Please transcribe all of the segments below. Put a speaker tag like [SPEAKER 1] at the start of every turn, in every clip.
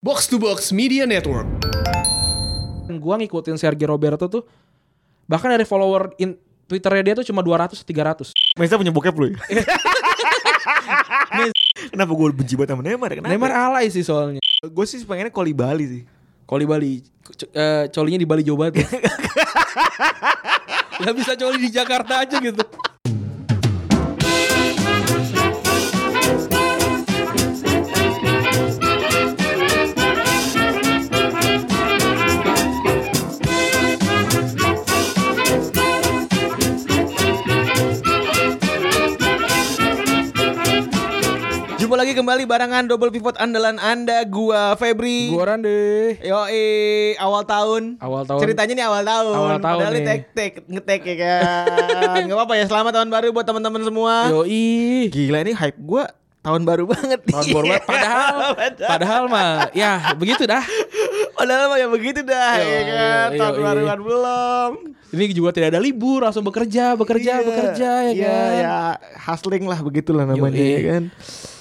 [SPEAKER 1] Box to Box Media Network.
[SPEAKER 2] Dan gua ngikutin Sergio Roberto tuh bahkan dari follower in Twitternya dia tuh cuma 200 300.
[SPEAKER 3] Mesa punya bokep lu ya? Mes- Kenapa gue benci banget sama Neymar ya? Kenapa?
[SPEAKER 2] Neymar alay sih soalnya.
[SPEAKER 3] Gue sih pengennya Koli Bali sih
[SPEAKER 2] Koli Bali, c- eh, colinya di Bali Jawa Barat. Gak bisa coli di Jakarta aja gitu.
[SPEAKER 4] Jumpa lagi kembali barengan double pivot andalan Anda, gua Febri.
[SPEAKER 2] Gua deh.
[SPEAKER 4] Yoi, awal tahun.
[SPEAKER 2] Awal tahun.
[SPEAKER 4] Ceritanya nih awal tahun.
[SPEAKER 2] Awal tahun
[SPEAKER 4] Padahal
[SPEAKER 2] nih.
[SPEAKER 4] nih. tek tek ngetek ya kan. Gak apa-apa ya, selamat tahun baru buat teman-teman semua.
[SPEAKER 2] Yoi.
[SPEAKER 4] Gila ini hype gua tahun baru banget.
[SPEAKER 2] Tahun baru banget. Padahal, padahal mah, ya begitu dah.
[SPEAKER 4] Padahal mah ya begitu dah
[SPEAKER 2] Yoi,
[SPEAKER 4] ya kan.
[SPEAKER 2] yoi,
[SPEAKER 4] tahun
[SPEAKER 2] yoi.
[SPEAKER 4] baruan belum.
[SPEAKER 2] Ini juga tidak ada libur, langsung bekerja, bekerja,
[SPEAKER 4] Iya,
[SPEAKER 2] bekerja ya
[SPEAKER 4] iya,
[SPEAKER 2] kan.
[SPEAKER 4] ya hustling lah begitulah namanya
[SPEAKER 2] Yoi.
[SPEAKER 4] ya kan.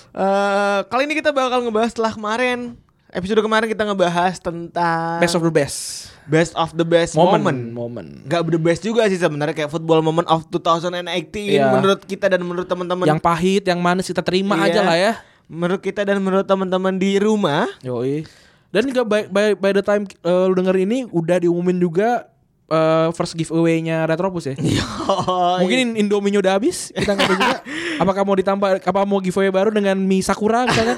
[SPEAKER 4] Eh, kali ini kita bakal ngebahas setelah kemarin Episode kemarin kita ngebahas tentang
[SPEAKER 2] Best of the best.
[SPEAKER 4] best of the best moment.
[SPEAKER 2] Momen, momen.
[SPEAKER 4] Gak the best juga sih sebenarnya kayak football moment of 2018
[SPEAKER 2] Iya.
[SPEAKER 4] menurut kita dan menurut teman-teman
[SPEAKER 2] Yang pahit, yang manis kita terima
[SPEAKER 4] Iya.
[SPEAKER 2] aja lah ya.
[SPEAKER 4] menurut kita dan menurut teman-teman di rumah
[SPEAKER 2] Yoi. Dan juga by, by, by the time eh, lu denger ini udah diumumin juga eh, first giveaway-nya Retropus ya. Mungkin in- Indominya udah habis, kita nggak tahu juga. Apakah mau ditambah apa mau giveaway baru dengan mie sakura misalnya?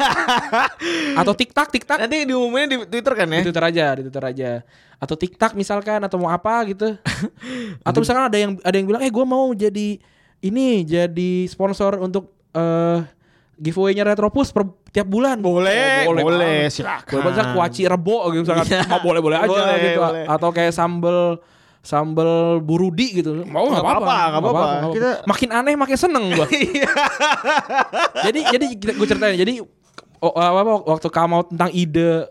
[SPEAKER 2] atau tiktak tiktak
[SPEAKER 4] nanti diumumin di Twitter kan ya.
[SPEAKER 2] di Twitter aja, di Twitter aja. Atau TikTok misalkan atau mau apa gitu. atau misalkan ada yang ada yang bilang, "Eh, gua mau jadi ini jadi sponsor untuk eh giveaway-nya Retropus per tiap bulan."
[SPEAKER 4] Boleh,
[SPEAKER 2] Oh,
[SPEAKER 4] boleh,
[SPEAKER 2] boleh.
[SPEAKER 4] silakan.
[SPEAKER 2] Boleh banget kuaci rebo gitu misalkan.
[SPEAKER 4] Iya.
[SPEAKER 2] "Ah, boleh-boleh aja
[SPEAKER 4] Boleh,
[SPEAKER 2] gitu.
[SPEAKER 4] boleh.
[SPEAKER 2] Atau kayak sambel sambel burudi gitu. Mau
[SPEAKER 4] Nggak
[SPEAKER 2] nggak apa-apa,
[SPEAKER 4] apa-apa, nggak
[SPEAKER 2] nggak
[SPEAKER 4] apa-apa.
[SPEAKER 2] nggak
[SPEAKER 4] Kita- Iya.
[SPEAKER 2] Makin aneh makin seneng gua. jadi jadi gue ceritain. Jadi o- apa waktu kamu tentang ide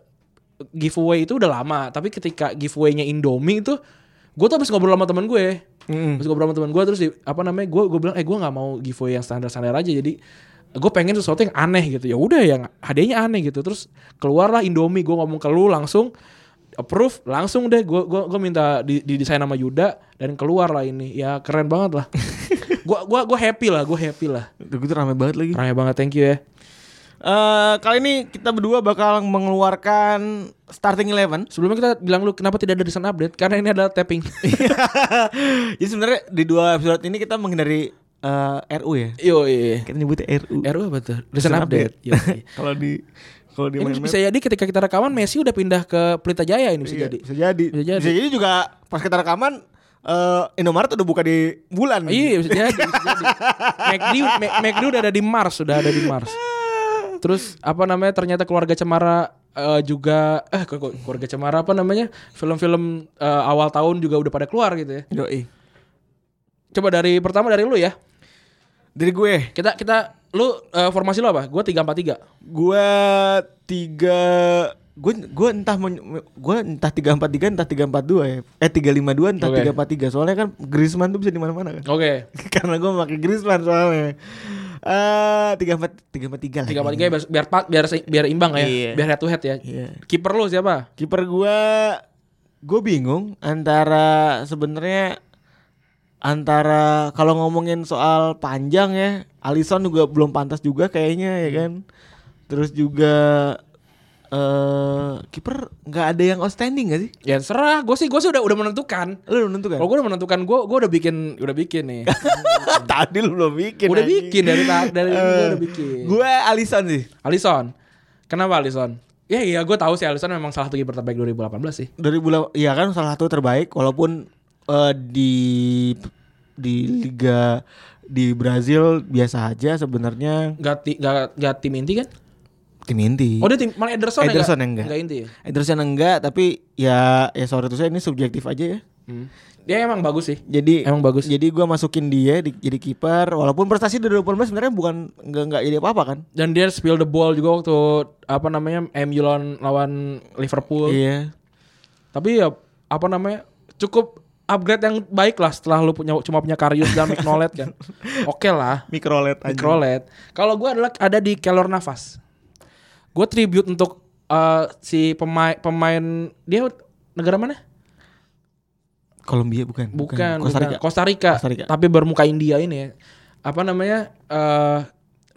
[SPEAKER 2] giveaway itu udah lama, tapi ketika giveaway-nya Indomie itu gue tuh habis ngobrol sama temen gue. Habis ngobrol sama temen gue terus di, apa namanya? Gue gue bilang eh gue nggak mau giveaway yang standar-standar aja. Jadi gue pengen sesuatu yang aneh gitu. Ya udah yang hadiahnya aneh gitu. Terus keluarlah Indomie. Gue ngomong ke lu langsung approve langsung deh gue gua, gua minta di, desain sama Yuda dan keluar lah ini ya keren banget lah gue gua, gua happy lah gue happy lah
[SPEAKER 3] Itu tuh rame banget lagi
[SPEAKER 2] keren banget thank you ya
[SPEAKER 4] Eh, kali ini kita berdua bakal mengeluarkan starting eleven.
[SPEAKER 2] sebelumnya kita bilang lu kenapa tidak ada desain update karena ini adalah tapping
[SPEAKER 4] Jadi sebenarnya di dua episode ini kita menghindari eh, RU ya.
[SPEAKER 2] yo iya
[SPEAKER 4] Kita nyebutnya E. RU.
[SPEAKER 2] RU apa tuh? Recent update. Yo, iya.
[SPEAKER 3] Kalau di Kalau di
[SPEAKER 2] ini
[SPEAKER 3] main
[SPEAKER 2] bisa jadi ketika kita rekaman Messi udah pindah ke Pelita Jaya ini bisa
[SPEAKER 3] Iya,
[SPEAKER 2] jadi.
[SPEAKER 3] bisa jadi.
[SPEAKER 2] Bisa jadi.
[SPEAKER 4] Bisa jadi juga pas kita rekaman eh, Indomaret udah buka di bulan.
[SPEAKER 2] Iya bisa jadi. Bisa jadi. McD, Ma- McD udah ada di Mars, sudah ada di Mars. Terus apa namanya? Ternyata keluarga Cemara eh, juga eh kok- kok keluarga Cemara apa namanya? Film-film eh, awal tahun juga udah pada keluar gitu ya.
[SPEAKER 4] Yoi.
[SPEAKER 2] Coba dari pertama dari lu ya.
[SPEAKER 4] Dari gue,
[SPEAKER 2] Kita kita lu eh, formasi lu apa? Gua 343.
[SPEAKER 4] gue tiga, gue gue entah men- gue entah tiga empat tiga, entah tiga empat dua ya, eh tiga lima dua, entah
[SPEAKER 2] Oke.
[SPEAKER 4] tiga empat tiga. Soalnya kan Griezmann tuh bisa di mana mana kan.
[SPEAKER 2] Oke.
[SPEAKER 4] Karena gue pakai Griezmann soalnya. Eh tiga empat tiga empat tiga lah.
[SPEAKER 2] tiga empat tiga ya, biar biar pa- biar se- biar imbang ya
[SPEAKER 4] Iya.
[SPEAKER 2] biar head to head ya
[SPEAKER 4] Iya.
[SPEAKER 2] kiper lu siapa
[SPEAKER 4] Kiper gue, gue bingung antara sebenarnya antara kalau ngomongin soal panjang ya, Alisson juga belum pantas juga kayaknya ya kan. Terus juga eh kiper nggak ada yang outstanding gak sih?
[SPEAKER 2] ya serah gue sih gue sih udah udah menentukan
[SPEAKER 4] Lu belum tentu kan?
[SPEAKER 2] kalau gue udah menentukan gue gue udah bikin udah bikin nih
[SPEAKER 4] Oh, Tadi lu belum bikin. Eh,
[SPEAKER 2] udah bikin dari ta- dari gue udah bikin
[SPEAKER 4] Gue Alisson sih.
[SPEAKER 2] Alisson kenapa Alisson ya iya gue tahu sih Alisson memang salah satu kiper terbaik 2018 sih
[SPEAKER 4] dari bulan ya kan salah satu terbaik walaupun eh, di di liga di Brazil biasa aja sebenarnya
[SPEAKER 2] nggak ti, nggak nggak tim inti kan
[SPEAKER 4] tim inti.
[SPEAKER 2] oh dia tim malah Ederson,
[SPEAKER 4] Ederson
[SPEAKER 2] ya
[SPEAKER 4] yang nggak.
[SPEAKER 2] nggak inti ya
[SPEAKER 4] Ederson enggak tapi ya ya sorry tuh saya ini subjektif aja ya.
[SPEAKER 2] Hmm. dia emang bagus sih
[SPEAKER 4] Jadi
[SPEAKER 2] Emang bagus.
[SPEAKER 4] Jadi gua masukin dia di- jadi kiper walaupun prestasi di 2018 sebenarnya bukan enggak enggak jadi apa-apa kan.
[SPEAKER 2] dan dia spill the ball juga waktu apa namanya MU lawan lawan Liverpool
[SPEAKER 4] Iya.
[SPEAKER 2] Tapi ya apa namanya cukup upgrade yang baik lah setelah lu punya cuma punya Karius dan Mignolet kan. Oke lah,
[SPEAKER 3] Mikrolet aja
[SPEAKER 2] Mignolet. Kalau gua adalah ada di Kelor Nafas. Gue tribute untuk eh, si pemain pemain dia negara mana?
[SPEAKER 4] Kolombia bukan.
[SPEAKER 2] Bukan,
[SPEAKER 4] Costa Rica.
[SPEAKER 2] bukan. Costa Rica.
[SPEAKER 4] Costa Rica.
[SPEAKER 2] Tapi bermuka India ini. ya. Apa namanya? eh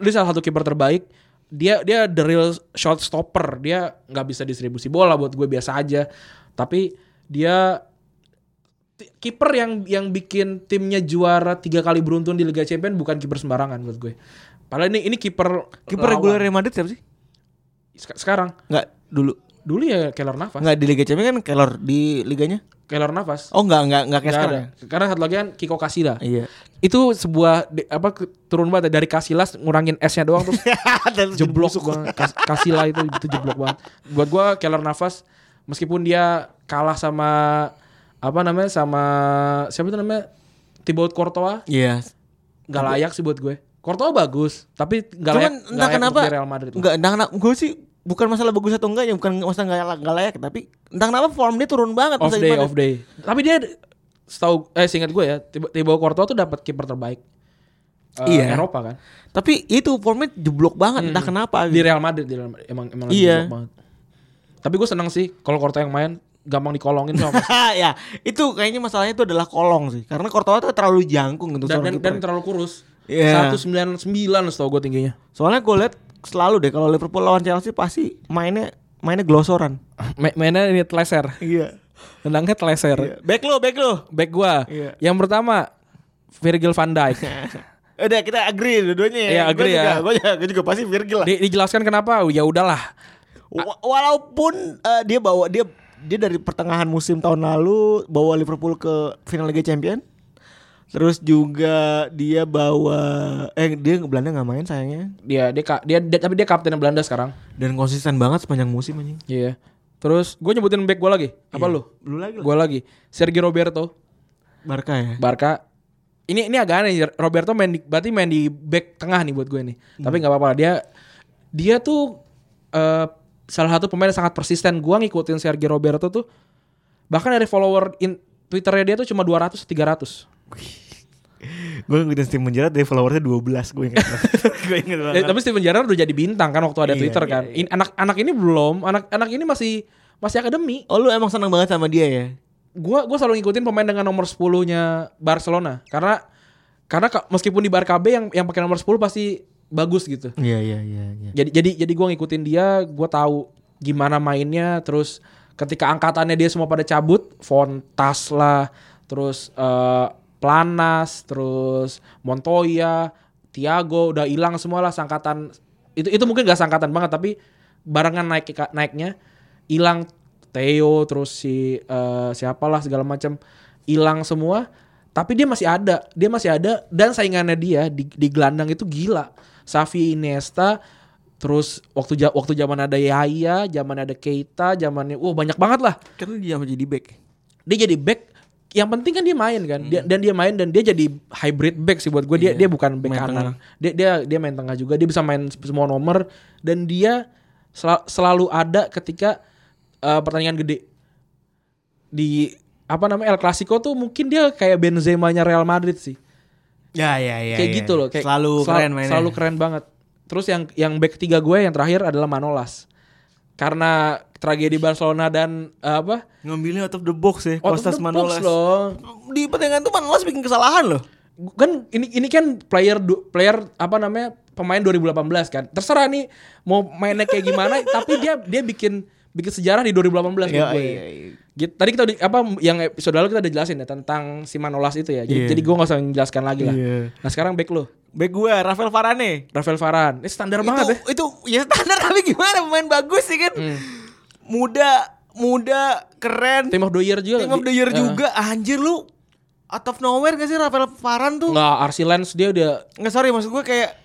[SPEAKER 2] dia salah satu kiper terbaik. Dia dia the real shot stopper. Dia nggak bisa distribusi bola buat gue biasa aja. Tapi dia ti- kiper yang yang bikin timnya juara tiga kali beruntun di Liga Champions bukan kiper sembarangan buat gue. Padahal ini ini kiper
[SPEAKER 4] Kiper
[SPEAKER 2] lawan.
[SPEAKER 4] reguler Real Madrid siapa sih?
[SPEAKER 2] Sek- sekarang
[SPEAKER 4] Enggak dulu.
[SPEAKER 2] dulu ya Keller Navas.
[SPEAKER 4] Enggak di Liga Champions kan Kelor di liganya?
[SPEAKER 2] Keller Navas.
[SPEAKER 4] Oh enggak enggak enggak kayak
[SPEAKER 2] Nggak
[SPEAKER 4] sekarang.
[SPEAKER 2] ada. Karena satu lagi kan Kiko Kasila.
[SPEAKER 4] ya? Iya.
[SPEAKER 2] itu sebuah di- apa ke- turun banget ya. dari Kasilas ngurangin S-nya doang terus jeblok banget Kas- Kasila itu itu jeblok banget. Buat gua Keller Nafas meskipun dia kalah sama apa namanya sama siapa itu namanya Thibaut Courtois
[SPEAKER 4] Iya.
[SPEAKER 2] nggak layak sih buat gue. Courtois bagus tapi nggak
[SPEAKER 4] Cuman
[SPEAKER 2] layak nggak
[SPEAKER 4] entah
[SPEAKER 2] layak
[SPEAKER 4] kenapa
[SPEAKER 2] untuk di Real Madrid. lah.
[SPEAKER 4] Enggak, entah kenapa gue sih bukan masalah bagus atau enggak ya, bukan masalah enggak layak, enggak layak tapi entah kenapa form dia turun banget
[SPEAKER 2] off
[SPEAKER 4] pas
[SPEAKER 2] day
[SPEAKER 4] gimana.
[SPEAKER 2] off day. Tapi dia setahu eh seingat gue ya Thib- Thibaut Courtois tuh dapat kiper terbaik. eh,
[SPEAKER 4] Iya.
[SPEAKER 2] Eropa kan.
[SPEAKER 4] Tapi itu formnya jeblok banget entah kenapa
[SPEAKER 2] Hmm. di
[SPEAKER 4] gitu.
[SPEAKER 2] Real Madrid di Real Madrid. emang emang lagi
[SPEAKER 4] Iya.
[SPEAKER 2] drop banget. Tapi gue seneng sih kalau Korto yang main gampang dikolongin sama
[SPEAKER 4] ya, itu kayaknya masalahnya itu adalah kolong sih. Karena Courtois tuh terlalu jangkung untuk
[SPEAKER 2] dan,
[SPEAKER 4] seorang
[SPEAKER 2] dan,
[SPEAKER 4] kiper.
[SPEAKER 2] dan terlalu kurus.
[SPEAKER 4] Iya.
[SPEAKER 2] 199 setahu gue tingginya.
[SPEAKER 4] Soalnya gue liat selalu deh kalau Liverpool lawan Chelsea pasti mainnya mainnya glosoran.
[SPEAKER 2] Ma- mainnya ini teleser.
[SPEAKER 4] Iya.
[SPEAKER 2] Tendangnya teleser.
[SPEAKER 4] Back lo, back lo.
[SPEAKER 2] Iya. Back gue.
[SPEAKER 4] Iya.
[SPEAKER 2] Yang pertama Virgil van Dijk.
[SPEAKER 4] Udah Eh, kita agree dua-duanya ya.
[SPEAKER 2] Iya, agree
[SPEAKER 4] gua
[SPEAKER 2] ya.
[SPEAKER 4] Juga, gue juga, gua juga pasti Virgil lah.
[SPEAKER 2] Di- dijelaskan kenapa? Ya udahlah.
[SPEAKER 4] Wa- walaupun eh, dia bawa dia dia dari pertengahan musim tahun lalu bawa Liverpool ke final Liga Champion. Terus juga dia bawa eh dia Belanda nggak main sayangnya
[SPEAKER 2] Dia dia ka- dia, dia- tapi dia kapten Belanda sekarang.
[SPEAKER 4] dan konsisten Kan banget sepanjang musim anjing.
[SPEAKER 2] Iya. Terus gue nyebutin back gue lagi. Apa lu?
[SPEAKER 4] Iya. Lu lagi lah.
[SPEAKER 2] Gue lagi. Sergio Roberto.
[SPEAKER 4] Barca ya.
[SPEAKER 2] Barca ini ini agak aneh Roberto main di, berarti main di back tengah nih buat gue nih
[SPEAKER 4] Iya.
[SPEAKER 2] tapi nggak apa-apa lah. dia dia tuh eh, salah satu pemain yang sangat persisten gue ngikutin Sergio Roberto tuh bahkan dari follower in Twitternya dia tuh cuma 200 300
[SPEAKER 3] Gue ngikutin Steven Gerrard dari followersnya 12 gue ingat. gue ingat
[SPEAKER 2] Eh,
[SPEAKER 3] banget.
[SPEAKER 2] tapi Steven Gerrard udah jadi bintang kan waktu ada
[SPEAKER 3] Iya,
[SPEAKER 2] Twitter
[SPEAKER 3] iya,
[SPEAKER 2] kan In- anak-anak ini belum anak-anak ini masih masih akademi
[SPEAKER 4] Oh lu emang seneng banget sama dia ya?
[SPEAKER 2] gue gua selalu ngikutin pemain dengan nomor 10-nya Barcelona karena karena ka- meskipun di Barca B yang yang pakai nomor 10 pasti bagus gitu
[SPEAKER 4] Iya iya iya. iya.
[SPEAKER 2] jadi jadi jadi gue ngikutin dia gue tahu gimana mainnya terus ketika angkatannya dia semua pada cabut Fontas lah terus eh, Planas terus Montoya Tiago udah hilang semua lah sangkatan itu itu mungkin gak sangkatan banget tapi barengan naik naiknya hilang Theo terus si eh, siapalah segala macam hilang semua tapi dia masih ada dia masih ada dan saingannya dia di, di gelandang itu gila Xavi Iniesta terus waktu ja- waktu zaman ada Yahya zaman ada Keita zamannya wah banyak banget lah
[SPEAKER 4] Kan dia sama jadi back.
[SPEAKER 2] dia jadi back yang penting kan dia main kan dia, dan dia main dan dia jadi hybrid back sih buat gue dia dia bukan back
[SPEAKER 4] Main
[SPEAKER 2] kanan dia dia dia main tengah juga dia bisa main semua nomor dan dia sel- selalu ada ketika eh, pertandingan gede di apa namanya El Clasico tuh mungkin dia kayak Benzema-nya Real Madrid sih
[SPEAKER 4] Ya ya ya.
[SPEAKER 2] kayak gitu loh kayak
[SPEAKER 4] selalu
[SPEAKER 2] sel-
[SPEAKER 4] keren mainnya.
[SPEAKER 2] selalu keren banget terus yang yang back tiga gue yang terakhir adalah Manolas karena tragedi Barcelona dan eh, apa Oh,
[SPEAKER 3] Ngambilnya out of the box ya,
[SPEAKER 2] out of
[SPEAKER 3] Kostas
[SPEAKER 2] the box
[SPEAKER 3] Manolas.
[SPEAKER 2] loh
[SPEAKER 4] Di pertandingan tuh Manolas bikin kesalahan loh.
[SPEAKER 2] kan ini ini kan player du- player apa namanya pemain 2018 kan terserah nih mau mainnya kayak gimana tapi dia dia bikin bikin sejarah di 2018 buat gue. Gitu. Tadi kita udah- apa yang episode lalu kita udah jelasin ya tentang si Manolas itu ya. Jadi,
[SPEAKER 3] Iya.
[SPEAKER 2] jadi gue gak usah menjelaskan lagi lah.
[SPEAKER 3] Iya.
[SPEAKER 2] Nah sekarang back lo,
[SPEAKER 4] Back gue Rafael Varane.
[SPEAKER 2] Rafael Varane. Ini standar banget ya.
[SPEAKER 4] itu, itu ya standar tapi gimana pemain bagus sih kan. Muda, muda, keren.
[SPEAKER 2] Team of the year juga.
[SPEAKER 4] Team of the year juga Ah, anjir lu. Out of nowhere gak sih Rafael Varane tuh?
[SPEAKER 2] Enggak, Arsi Lens dia udah
[SPEAKER 4] Nggak sorry maksud gue kayak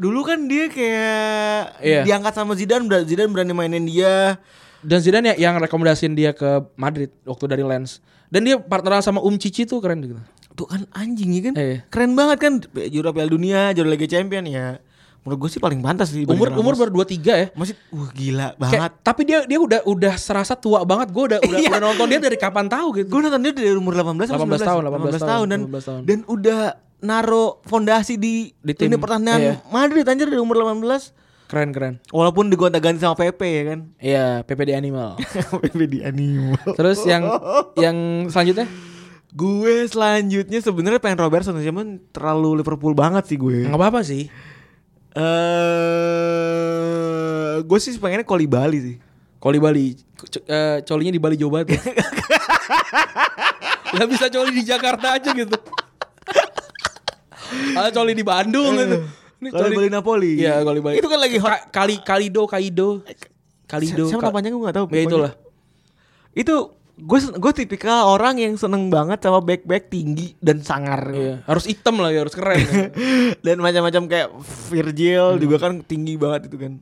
[SPEAKER 4] dulu kan dia kayak
[SPEAKER 2] Iya.
[SPEAKER 4] diangkat sama Zidane, ber- Zidane berani mainin dia.
[SPEAKER 2] dan Zidane ya- yang rekomendasiin dia ke Madrid waktu dari Lens. Dan dia partneran sama Um Cici tuh keren gitu.
[SPEAKER 4] Tuh kan anjing ya kan.
[SPEAKER 2] Iya.
[SPEAKER 4] Keren banget kan juara Piala Dunia, juara Liga Champion ya. Menurut gue sih paling pantas sih
[SPEAKER 2] Umur
[SPEAKER 4] dibanding
[SPEAKER 2] umur
[SPEAKER 4] Ramos.
[SPEAKER 2] baru 23 ya.
[SPEAKER 4] masih wah
[SPEAKER 2] Kayak-
[SPEAKER 4] gila banget.
[SPEAKER 2] tapi dia dia udah udah serasa tua banget. Gue udah udah,
[SPEAKER 4] Iya.
[SPEAKER 2] udah nonton dia dari kapan tahu gitu.
[SPEAKER 4] Gue nonton dia dari umur 18 apa
[SPEAKER 2] 18
[SPEAKER 4] 19
[SPEAKER 2] tahun, 18 tahun,
[SPEAKER 4] dan
[SPEAKER 2] 18 tahun.
[SPEAKER 4] dan udah naro fondasi di
[SPEAKER 2] Di
[SPEAKER 4] di
[SPEAKER 2] tim.
[SPEAKER 4] pertahanan
[SPEAKER 2] Iya.
[SPEAKER 4] Madrid anjir dari umur 18
[SPEAKER 2] Keren keren.
[SPEAKER 4] Walaupun digonta-ganti sama PP ya kan.
[SPEAKER 2] Iya, PPD Animal.
[SPEAKER 4] PP di animal.
[SPEAKER 2] Terus yang yang selanjutnya?
[SPEAKER 4] Gue selanjutnya sebenarnya pengen Robertson cuman terlalu Liverpool banget sih gue. Eh,
[SPEAKER 2] Enggak apa-apa sih.
[SPEAKER 4] Eh, gue sih pengennya Kolibali sih.
[SPEAKER 2] Koli Bali, C- eh, colinya di Bali Jawa Barat. Gak bisa coli di Jakarta aja gitu. Ada coli di Bandung gitu. Ini
[SPEAKER 4] Kolibali Napoli.
[SPEAKER 2] Iya, Koli Bali.
[SPEAKER 4] Itu kan lagi hot.
[SPEAKER 2] Ka- Kali Kalido Kaido. Kalido. Ka-
[SPEAKER 4] Siapa namanya gue gak tahu.
[SPEAKER 2] Ya itulah.
[SPEAKER 4] Itu gue sen- gue tipikal orang yang seneng banget sama back back tinggi dan sangar.
[SPEAKER 2] Iya, harus item lah ya, harus keren. ya.
[SPEAKER 4] dan macam-macam kayak
[SPEAKER 2] Iya.
[SPEAKER 4] Virgil juga kan tinggi banget itu kan.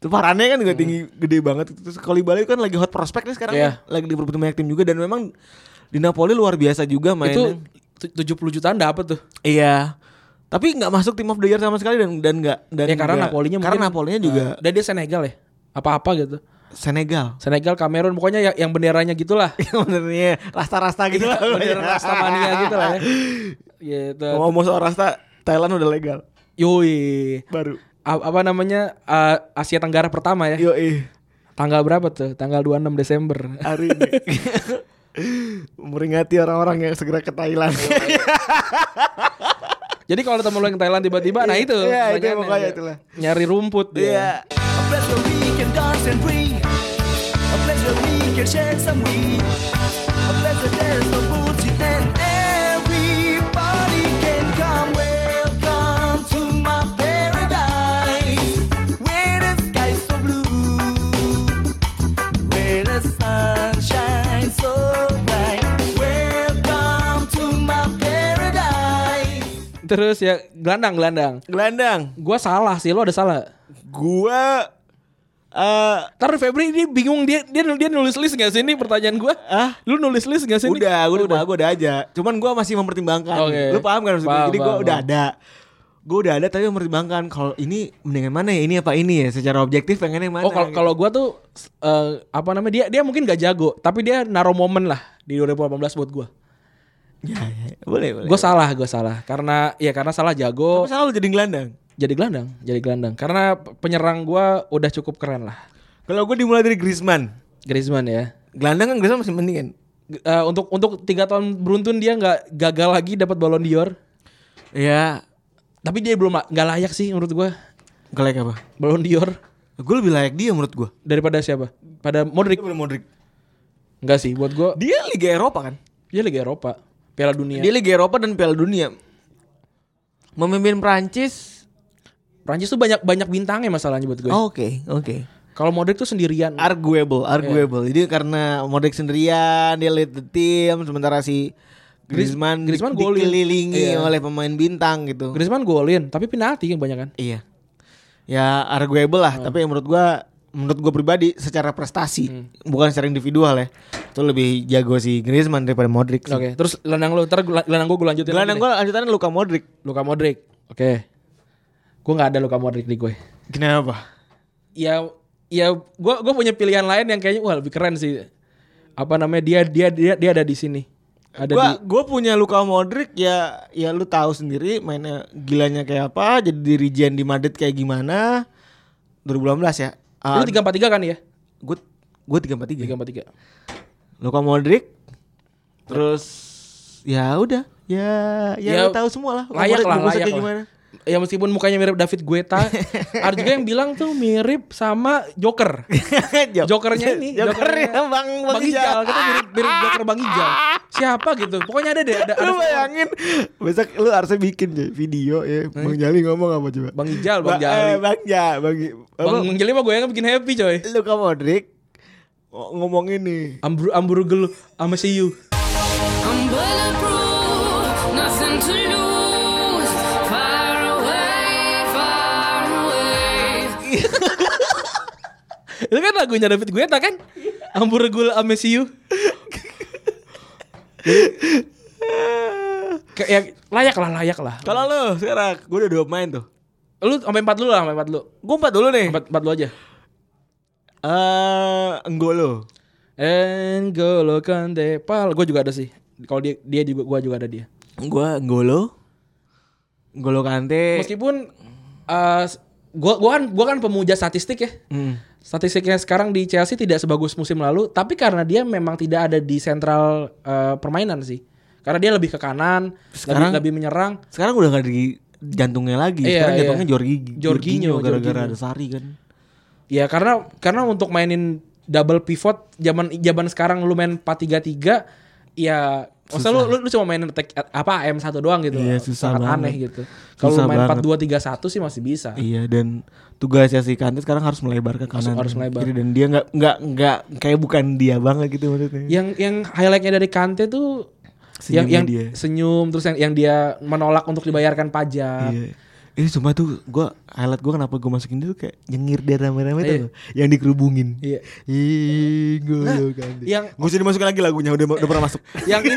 [SPEAKER 4] Itu Varane kan juga tinggi gede banget itu. Terus Kolibali kan lagi hot prospect nih sekarang
[SPEAKER 2] Iya.
[SPEAKER 4] kan. lagi diperbutuhin banyak tim juga dan memang di Napoli luar biasa juga mainnya.
[SPEAKER 2] Itu tu- 70 jutaan dapat tuh.
[SPEAKER 4] Iya. Tapi nggak masuk tim of the year sama sekali dan dan nggak dan
[SPEAKER 2] Ya karena
[SPEAKER 4] nggak-
[SPEAKER 2] Napolinya
[SPEAKER 4] karena
[SPEAKER 2] mungkin-
[SPEAKER 4] Napolinya Ah. juga
[SPEAKER 2] Eh, Dan dia Senegal ya. Apa-apa gitu.
[SPEAKER 4] Senegal.
[SPEAKER 2] Senegal, Kamerun, pokoknya ya- yang, yang benderanya gitulah.
[SPEAKER 4] Benernya rasta-rasta gitu lah.
[SPEAKER 2] Bendera Rastamania gitu lah ya. Gitu.
[SPEAKER 4] Mau ngomong soal rasta Thailand udah legal
[SPEAKER 2] Yoi.
[SPEAKER 4] baru.
[SPEAKER 2] A- apa namanya uh, Asia Tenggara pertama ya
[SPEAKER 4] Yo eh
[SPEAKER 2] tanggal berapa tuh tanggal 26 Desember
[SPEAKER 4] hari ini. Meringati orang-orang yang segera ke Thailand.
[SPEAKER 2] jadi kalau temen lo yang Thailand tiba-tiba nah itu
[SPEAKER 4] Iya, itu
[SPEAKER 2] pertanyaannya.
[SPEAKER 4] pokoknya itulah.
[SPEAKER 2] nyari rumput dia
[SPEAKER 4] Iya.
[SPEAKER 1] A place where we can dance and breathe. A place where we can share some weed. A place where there's no bullshit and everybody can come. Welcome to my paradise, where the sky's so blue, where the sun shines so bright. Welcome to my paradise.
[SPEAKER 2] terus ya gelandang gelandang
[SPEAKER 4] Gelandang.
[SPEAKER 2] gua salah sih lo ada salah
[SPEAKER 4] Gua eh
[SPEAKER 2] Ntar Febri ini bingung dia dia dia nulis list gak sih ini pertanyaan gua
[SPEAKER 4] Ah?
[SPEAKER 2] lu nulis list gak sih ini?
[SPEAKER 4] udah, gue udah, gue udah aja. Cuman gue masih mempertimbangkan.
[SPEAKER 2] Oke.
[SPEAKER 4] Lu paham kan maksud gue?
[SPEAKER 2] Paham,
[SPEAKER 4] Jadi gue
[SPEAKER 2] paham,
[SPEAKER 4] udah
[SPEAKER 2] paham.
[SPEAKER 4] ada. Gue udah ada tapi mempertimbangkan kalau ini mendingan mana ya? Ini apa ini ya? Secara objektif pengen yang mana?
[SPEAKER 2] oh kalau kalau gua tuh eh, apa namanya dia dia mungkin gak jago tapi dia naro momen lah di 2018 buat gua
[SPEAKER 4] Ya, ya. boleh, boleh.
[SPEAKER 2] gua salah gua salah karena ya karena salah jago
[SPEAKER 4] Tapi salah lu jadi gelandang.
[SPEAKER 2] jadi gelandang, jadi gelandang. Karena p- penyerang gua udah cukup keren lah.
[SPEAKER 4] Kalau gue dimulai dari Griezmann.
[SPEAKER 2] Griezmann ya.
[SPEAKER 4] Gelandang kan Griezmann masih penting kan?
[SPEAKER 2] G- eh, untuk untuk tiga tahun beruntun dia nggak gagal lagi dapat Ballon d'Or.
[SPEAKER 4] Iya.
[SPEAKER 2] Tapi dia belum la- nggak layak sih menurut gua
[SPEAKER 4] Gak layak apa?
[SPEAKER 2] Ballon d'Or
[SPEAKER 4] Gue lebih layak dia menurut gue.
[SPEAKER 2] daripada siapa? Pada Modric.
[SPEAKER 4] Daripada Modric.
[SPEAKER 2] Enggak sih buat gua
[SPEAKER 4] Dia Liga Eropa kan?
[SPEAKER 2] dia Liga Eropa, Piala Dunia.
[SPEAKER 4] Dia Liga Eropa dan Piala Dunia. Memimpin Prancis.
[SPEAKER 2] Prancis tuh banyak banyak bintangnya masalahnya buat gue.
[SPEAKER 4] Oke, Iya. oke.
[SPEAKER 2] Kalau Modric tuh sendirian.
[SPEAKER 4] arguable, arguable. Jadi karena Modric sendirian, dia lead the team sementara si
[SPEAKER 2] Grizz-
[SPEAKER 4] Griezmann,
[SPEAKER 2] Griezmann
[SPEAKER 4] di-
[SPEAKER 2] golin.
[SPEAKER 4] dikelilingi
[SPEAKER 2] Iya.
[SPEAKER 4] oleh pemain bintang gitu.
[SPEAKER 2] Griezmann golin, tapi penalti yang banyak kan.
[SPEAKER 4] iya. Ya arguable lah, tapi menurut gua menurut gua pribadi secara prestasi bukan secara individual ya. Itu lebih jago si Griezmann daripada Modric. sih.
[SPEAKER 2] Oke, terus gelandang lu, ntar gua- gelandang gua gue lanjutin.
[SPEAKER 4] Gelandang
[SPEAKER 2] lagi deh.
[SPEAKER 4] gua lanjutannya Luka Modric.
[SPEAKER 2] Luka Modric. Oke. Gua nggak ada Luka Modric di gue.
[SPEAKER 4] Kenapa?
[SPEAKER 2] ya ya gue gue punya pilihan lain yang kayaknya wah lebih keren sih apa namanya dia dia dia dia ada di sini ada
[SPEAKER 4] Gua,
[SPEAKER 2] di
[SPEAKER 4] gua punya Luka Modric ya ya lu tahu sendiri mainnya gilanya kayak apa, jadi dirijen di Madrid kayak gimana. 2018 ya. Ah,
[SPEAKER 2] lu tiga empat tiga kan ya
[SPEAKER 4] gue gue tiga empat tiga
[SPEAKER 2] tiga empat tiga
[SPEAKER 4] Luka Modric terus ya udah ya
[SPEAKER 2] Ya,
[SPEAKER 4] ya, lu tahu semua lah Luka
[SPEAKER 2] layak
[SPEAKER 4] Modric
[SPEAKER 2] lah
[SPEAKER 4] bungkusnya
[SPEAKER 2] layak
[SPEAKER 4] kayak
[SPEAKER 2] lah.
[SPEAKER 4] gimana
[SPEAKER 2] ya meskipun mukanya mirip David Guetta ada juga yang bilang tuh mirip sama Joker
[SPEAKER 4] Jok-
[SPEAKER 2] Jokernya ini
[SPEAKER 4] Jokernya Bang Bang
[SPEAKER 2] Bang Ijal
[SPEAKER 4] Ijal.
[SPEAKER 2] kita mirip mirip Joker Bang Ijal siapa gitu pokoknya ada deh ada, ada
[SPEAKER 4] lu bayangin besok lu harusnya bikin Jay, video ya Bang Jali ngomong apa coba
[SPEAKER 2] Bang Ijal Bang
[SPEAKER 4] Ba- eh,
[SPEAKER 2] Jali
[SPEAKER 4] Bang Ja Bang, apa?
[SPEAKER 2] Bang Jali mah gue yang bikin happy coy
[SPEAKER 4] Luka Modric ng- ngomong ini
[SPEAKER 2] Ambru Ambru gelu sama si you
[SPEAKER 5] I'm bulletproof, nothing to lose. Far away, far away.
[SPEAKER 2] Itu kan lagunya David Guetta kan? Ambur gula I miss you. Kayak ya, layak lah, layak lah.
[SPEAKER 4] kalau lu sekarang gue udah dua pemain tuh
[SPEAKER 2] Lu sampai empat lu lah, sampai empat lu.
[SPEAKER 4] gue empat dulu nih
[SPEAKER 2] Empat, empat lu aja.
[SPEAKER 4] eh Enggolo
[SPEAKER 2] N'Golo Kante Pal, gue juga ada sih. Kalau dia dia juga gue juga ada dia.
[SPEAKER 4] Gue Ngolo Ngolo Kante
[SPEAKER 2] Meskipun eh, gua gua kan gua kan pemuja statistik ya.
[SPEAKER 4] Hmm.
[SPEAKER 2] Statistiknya sekarang di Chelsea tidak sebagus musim lalu, tapi karena dia memang tidak ada di sentral eh, permainan sih. Karena dia lebih ke kanan,
[SPEAKER 4] Sekarang-
[SPEAKER 2] lebih, lebih menyerang.
[SPEAKER 4] Sekarang udah gak di jantungnya lagi.
[SPEAKER 2] Iya,
[SPEAKER 4] Sekarang
[SPEAKER 2] iya.
[SPEAKER 4] jantungnya Jorginho,
[SPEAKER 2] Jorginho,
[SPEAKER 4] gara-gara
[SPEAKER 2] Jorginho.
[SPEAKER 4] ada Sari kan.
[SPEAKER 2] Ya karena karena untuk mainin double pivot zaman zaman sekarang lu main 4-3-3 ya Masa lu, lu, lu cuma mainin attack, apa AM1 doang gitu.
[SPEAKER 4] Iya, susah
[SPEAKER 2] Sangat
[SPEAKER 4] banget.
[SPEAKER 2] aneh gitu. Kalau lu
[SPEAKER 4] Susah
[SPEAKER 2] main
[SPEAKER 4] banget.
[SPEAKER 2] 4-2-3-1 sih masih bisa.
[SPEAKER 4] Iya dan tugasnya si Kante sekarang harus melebar ke kanan.
[SPEAKER 2] harus melebar.
[SPEAKER 4] Kiri, dan dia nggak nggak nggak kayak bukan dia banget gitu maksudnya.
[SPEAKER 2] Hmm. Yang yang highlightnya dari Kante tuh
[SPEAKER 4] Senyumnya
[SPEAKER 2] yang yang
[SPEAKER 4] dia.
[SPEAKER 2] senyum terus yang, yang dia menolak untuk dibayarkan pajak.
[SPEAKER 4] Iya. Ini cuma tuh gua highlight gua kenapa gua masukin itu kayak nyengir dia rame-rame
[SPEAKER 2] Iya.
[SPEAKER 4] tuh loh, yang dikerubungin.
[SPEAKER 2] Iya.
[SPEAKER 4] Ih, gue
[SPEAKER 2] Nah,
[SPEAKER 4] Kante.
[SPEAKER 2] yang-
[SPEAKER 4] Gak usah dimasukin lagi lagunya udah udah pernah masuk.
[SPEAKER 2] yang ini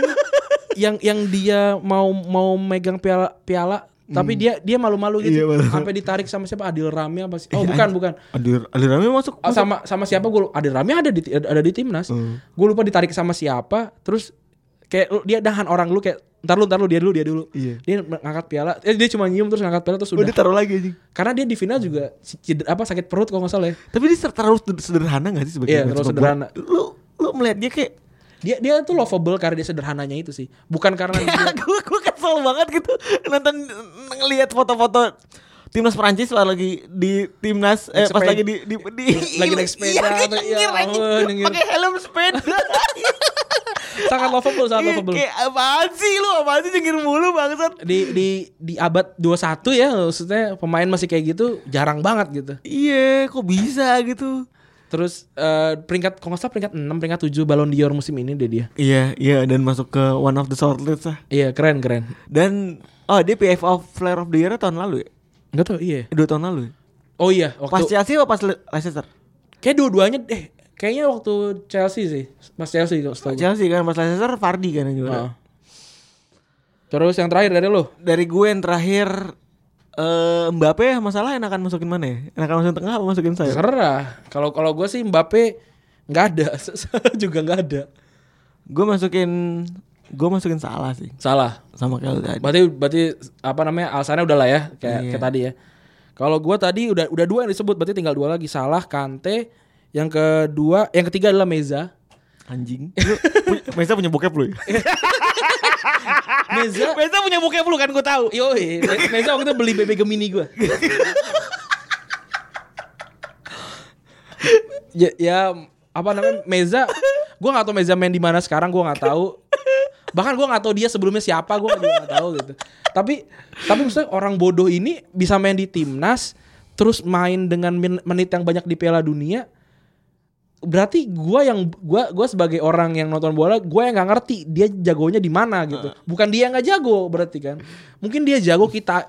[SPEAKER 2] yang yang dia mau mau megang piala piala tapi dia dia malu-malu gitu
[SPEAKER 4] Hmm. Iya, malu.
[SPEAKER 2] sampai ditarik sama siapa Adil Rami apa sih oh
[SPEAKER 4] Iya,
[SPEAKER 2] bukan
[SPEAKER 4] anj-
[SPEAKER 2] bukan
[SPEAKER 4] Alir Alir rame masuk.
[SPEAKER 2] Oh, sama sama siapa gue Adil Rami ada di ada di timnas
[SPEAKER 4] Hmm.
[SPEAKER 2] gue lupa ditarik sama siapa terus kayak lu- dia dahan orang lu kayak ntar lu ntar lu dia dulu dia dulu
[SPEAKER 4] Iya. Oh,
[SPEAKER 2] dia ngangkat piala eh, dia cuma nyium terus ngangkat piala terus
[SPEAKER 4] Udah
[SPEAKER 2] udah
[SPEAKER 4] taruh lagi anjing.
[SPEAKER 2] karena dia di final juga si- cedera- apa sakit perut kalau nggak salah ya
[SPEAKER 4] Tapi dia ser- terlalu seder- sederhana gak sih sebagai
[SPEAKER 2] Iya,
[SPEAKER 4] fans
[SPEAKER 2] terlalu
[SPEAKER 4] sepak
[SPEAKER 2] sederhana.
[SPEAKER 4] bola? Lu lu melihat dia kayak
[SPEAKER 2] dia dia tuh lovable karena dia sederhananya itu sih bukan karena dia
[SPEAKER 4] gue gue kesel banget gitu nonton ngelihat foto-foto timnas Prancis pas lagi di timnas eh, pas
[SPEAKER 2] Sepeda.
[SPEAKER 4] lagi di di, di
[SPEAKER 2] Lagi naik sepeda,
[SPEAKER 4] iya, kayak
[SPEAKER 2] apa- ya
[SPEAKER 4] nyengir, anjing.
[SPEAKER 2] ampun, nyengir.
[SPEAKER 4] pakai helm sepeda
[SPEAKER 2] sangat lovable sangat
[SPEAKER 4] Iya,
[SPEAKER 2] lovable
[SPEAKER 4] kayak apaan sih lu apaan sih nyengir mulu bangsat
[SPEAKER 2] di di di abad 21 ya maksudnya pemain masih kayak gitu jarang banget gitu.
[SPEAKER 4] iya kok bisa gitu
[SPEAKER 2] Terus eh, peringkat kalau nggak salah peringkat 6 peringkat 7 Ballon d'Or musim ini deh dia.
[SPEAKER 4] iya iya dan masuk ke one of the shortlist lah
[SPEAKER 2] Iya, keren keren.
[SPEAKER 4] dan oh dia PFA Player of the Year tahun lalu ya
[SPEAKER 2] Enggak tahu iya.
[SPEAKER 4] dua tahun lalu ya?
[SPEAKER 2] Oh iya,
[SPEAKER 4] pas
[SPEAKER 2] waktu
[SPEAKER 4] Chelsea apa pas Le- Leicester
[SPEAKER 2] kayak dua-duanya deh. Kayaknya waktu Chelsea sih. Mas Chelsea kalau setahu gue.
[SPEAKER 4] Chelsea kan pas Leicester Vardy kan yang juara
[SPEAKER 2] Heeh. Terus yang terakhir dari lo.
[SPEAKER 4] dari gue yang terakhir eh Mbappe masalah enakan masukin mana ya? Enakan masukin tengah apa masukin sayap?
[SPEAKER 2] Serah. Kalau kalau gue sih Mbappe nggak ada, juga nggak ada.
[SPEAKER 4] Gue masukin gue masukin salah sih
[SPEAKER 2] Salah.
[SPEAKER 4] sama kayak lu tadi.
[SPEAKER 2] Berarti berarti apa namanya alasannya udah lah ya kayak,
[SPEAKER 4] Iya.
[SPEAKER 2] kayak tadi ya. Kalau gua tadi udah udah dua yang disebut berarti tinggal dua lagi salah Kante yang kedua yang ketiga adalah Meza.
[SPEAKER 4] Anjing. Lu punya- Mesa punya bokep lu. ya?
[SPEAKER 2] Meza
[SPEAKER 4] Mesa punya bokep lu kan gue tahu.
[SPEAKER 2] yo Meza waktu itu beli BB Gemini gua. ya, ya, apa namanya Meza gua nggak tahu Meza main di mana sekarang gua nggak tahu bahkan gua nggak tahu dia sebelumnya siapa gua juga nggak tahu gitu tapi tapi maksudnya orang bodoh ini bisa main di timnas terus main dengan men- menit yang banyak di Piala Dunia berarti gua yang gua gua sebagai orang yang nonton bola gua yang nggak ngerti dia jagonya di mana gitu bukan dia yang nggak jago berarti kan mungkin dia jago kita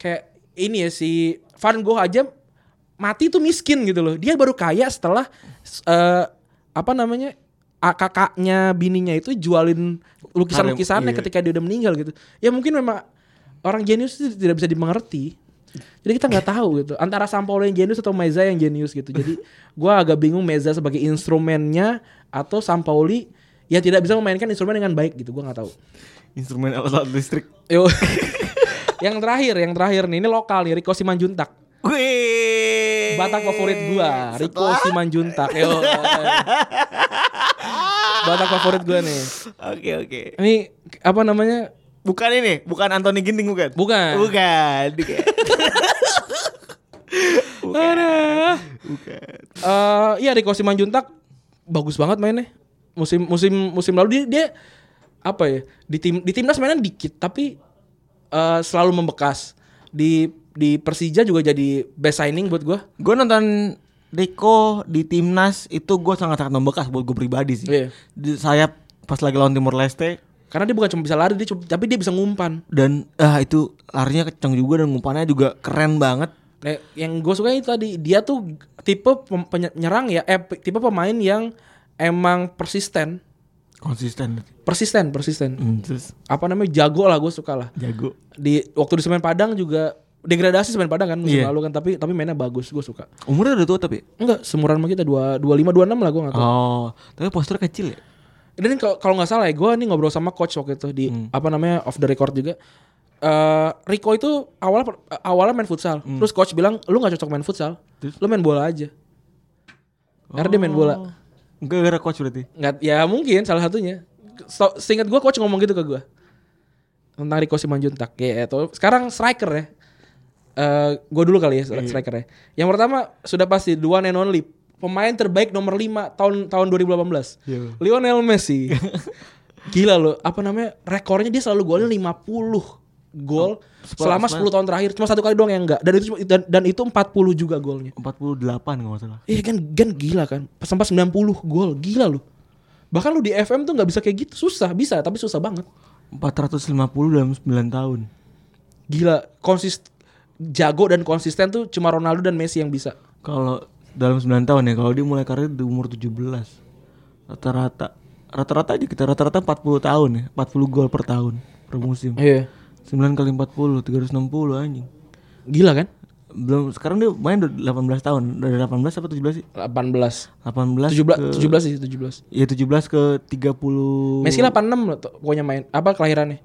[SPEAKER 2] kayak ini ya si Van Gogh aja mati tuh miskin gitu loh dia baru kaya setelah eh, apa namanya ah, kakaknya bininya itu jualin lukisan lukisannya
[SPEAKER 4] Karya- iya.
[SPEAKER 2] ketika dia udah meninggal gitu ya mungkin memang orang jenius itu tidak bisa dimengerti jadi kita nggak tahu gitu antara Sampaoli yang jenius atau Meza yang jenius gitu. Jadi gua agak bingung Meza sebagai instrumennya atau Sampaoli yang tidak bisa memainkan instrumen dengan baik gitu. Gua nggak tahu.
[SPEAKER 4] Instrumen alat listrik.
[SPEAKER 2] Yo. yang terakhir, yang terakhir nih ini lokal nih Rico Simanjuntak.
[SPEAKER 4] Gue.
[SPEAKER 2] Batak favorit gua, Rico Simanjuntak. Eh, Yo. Batak favorit gua nih.
[SPEAKER 4] Oke oke.
[SPEAKER 2] Ini apa namanya?
[SPEAKER 4] Bukan ini, bukan Anthony Ginting bukan?
[SPEAKER 2] Bukan.
[SPEAKER 4] Bukan. Bukan.
[SPEAKER 2] Aduh.
[SPEAKER 4] bukan.
[SPEAKER 2] Eh iya Rico Simanjuntak bagus banget mainnya. Musim musim musim lalu dia dia apa ya? Di tim di timnas mainan dikit tapi eh, selalu membekas. Di di Persija juga jadi best signing buat gua.
[SPEAKER 4] Gue nonton Rico di timnas itu gue sangat-sangat membekas buat gue pribadi sih.
[SPEAKER 2] Iya.
[SPEAKER 4] Di sayap pas lagi lawan Timor Leste
[SPEAKER 2] Karena dia bukan cuma bisa lari, dia cuma- tapi dia bisa ngumpan.
[SPEAKER 4] dan ah itu larinya kenceng juga dan umpannya juga keren banget.
[SPEAKER 2] Nah, yang gue suka itu tadi dia tuh tipe pem- penyerang ya, eh pe- tipe pemain yang emang persisten,
[SPEAKER 4] Konsisten.
[SPEAKER 2] persisten, persisten.
[SPEAKER 4] Hmm, terus
[SPEAKER 2] Apa namanya jago lah gue suka lah.
[SPEAKER 4] jago.
[SPEAKER 2] di waktu di Semen Padang juga degradasi Semen Padang kan musim
[SPEAKER 4] Iya.
[SPEAKER 2] lalu kan tapi tapi mainnya bagus gue suka
[SPEAKER 4] Umurnya udah tua tapi.
[SPEAKER 2] enggak semuran sama kita dua dua lima dua enam lah gue nggak tahu
[SPEAKER 4] Oh, tapi postur kecil ya. Hmm.
[SPEAKER 2] dan kalau kalau nggak salah ya gue nih ngobrol sama coach waktu itu di apa namanya off the record juga eh, Rico itu awalnya per- awalnya main futsal.
[SPEAKER 4] Hmm.
[SPEAKER 2] Terus coach bilang lu nggak cocok main futsal, lu main bola aja.
[SPEAKER 4] Oh.
[SPEAKER 2] Karena dia main bola.
[SPEAKER 4] Enggak gara coach berarti.
[SPEAKER 2] Nggak, ya mungkin salah satunya. So, seingat gue coach ngomong gitu ke gue tentang Rico Simanjuntak. Ya, atau sekarang striker ya. gue dulu kali ya striker ya. Yang pertama sudah pasti the one and only pemain terbaik nomor 5 tahun tahun 2018. Lionel Messi. Gila loh, apa namanya? Rekornya dia selalu golnya 50 gol selama 10 tahun terakhir. Cuma satu kali doang yang enggak. Dan itu cuma- dan, dan itu 40 juga golnya.
[SPEAKER 4] 48 enggak masalah.
[SPEAKER 2] Iya kan, kan gila kan. Pas Sampai 90 gol, gila lu. Bahkan lu di FM tuh nggak bisa kayak gitu. Susah, bisa tapi susah banget.
[SPEAKER 4] 450 dalam 9 tahun.
[SPEAKER 2] Gila, konsist jago dan konsisten tuh cuma Ronaldo dan Messi yang bisa.
[SPEAKER 4] Kalau dalam 9 tahun ya, kalau dia mulai karir di umur 17. Rata-rata rata-rata aja kita rata-rata 40 tahun ya, 40 gol per tahun per musim.
[SPEAKER 2] Iya.
[SPEAKER 4] 9 kali 40 360 anjing.
[SPEAKER 2] Gila kan?
[SPEAKER 4] Belum sekarang dia main udah 18 tahun. Dari 18 apa 17 sih?
[SPEAKER 2] 18.
[SPEAKER 4] 18
[SPEAKER 2] 17
[SPEAKER 4] ke
[SPEAKER 2] 17 sih 17.
[SPEAKER 4] ya 17 ke 30
[SPEAKER 2] Uh. Messi 86 loh, tuh, pokoknya main apa kelahirannya.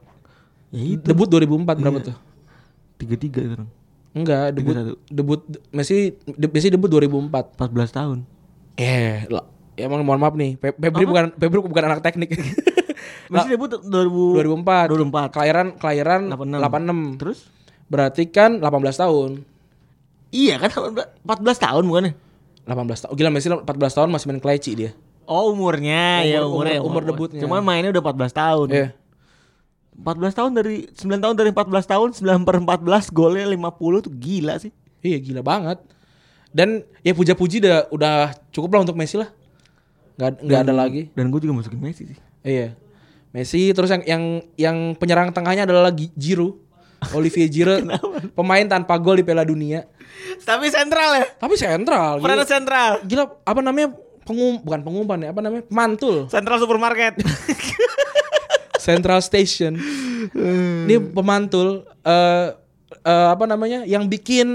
[SPEAKER 4] ya itu
[SPEAKER 2] Debut 2004 berapa tuh?
[SPEAKER 4] 33 sekarang.
[SPEAKER 2] Enggak, debut
[SPEAKER 4] 31.
[SPEAKER 2] debut Messi de- Messi debut 2004.
[SPEAKER 4] 14 tahun.
[SPEAKER 2] Eh, lah. emang mohon maaf nih, Pe- Febri bukan Febri bukan anak teknik.
[SPEAKER 4] Messi debut 2000
[SPEAKER 2] 2004.
[SPEAKER 4] 2004.
[SPEAKER 2] Kelahiran kelahiran
[SPEAKER 4] 86.
[SPEAKER 2] 86.
[SPEAKER 4] Terus?
[SPEAKER 2] Berarti kan 18 tahun.
[SPEAKER 4] Iya kan 14 tahun bukannya?
[SPEAKER 2] 18 tahun. oh, Gila Messi 14 tahun masih main kleci dia.
[SPEAKER 4] Oh umurnya ya
[SPEAKER 2] Umur-
[SPEAKER 4] umurnya
[SPEAKER 2] umur- umur debutnya.
[SPEAKER 4] Cuman mainnya udah 14 tahun.
[SPEAKER 2] Iya.
[SPEAKER 4] 14 tahun dari 9 tahun dari 14 tahun 9 per 14 golnya 50 tuh gila sih.
[SPEAKER 2] Iya gila banget. Dan ya puja-puji dah udah cukup lah untuk Messi lah. Nggak nggak
[SPEAKER 4] Hmm.
[SPEAKER 2] ada lagi.
[SPEAKER 4] Dan gue juga masukin Messi sih.
[SPEAKER 2] Iya. Messi terus yang yang yang penyerang tengahnya adalah Gi- Giroud. Olivier Giroud pemain tanpa gol di Piala Dunia.
[SPEAKER 4] Tapi sentral ya.
[SPEAKER 2] Tapi sentral.
[SPEAKER 4] Peran
[SPEAKER 2] Gila,
[SPEAKER 4] sentral.
[SPEAKER 2] gila apa namanya? Pengum bukan pengumpan ya, apa namanya? Mantul.
[SPEAKER 4] Sentral supermarket.
[SPEAKER 2] Central Station. Ini pemantul eh eh, apa namanya? Yang bikin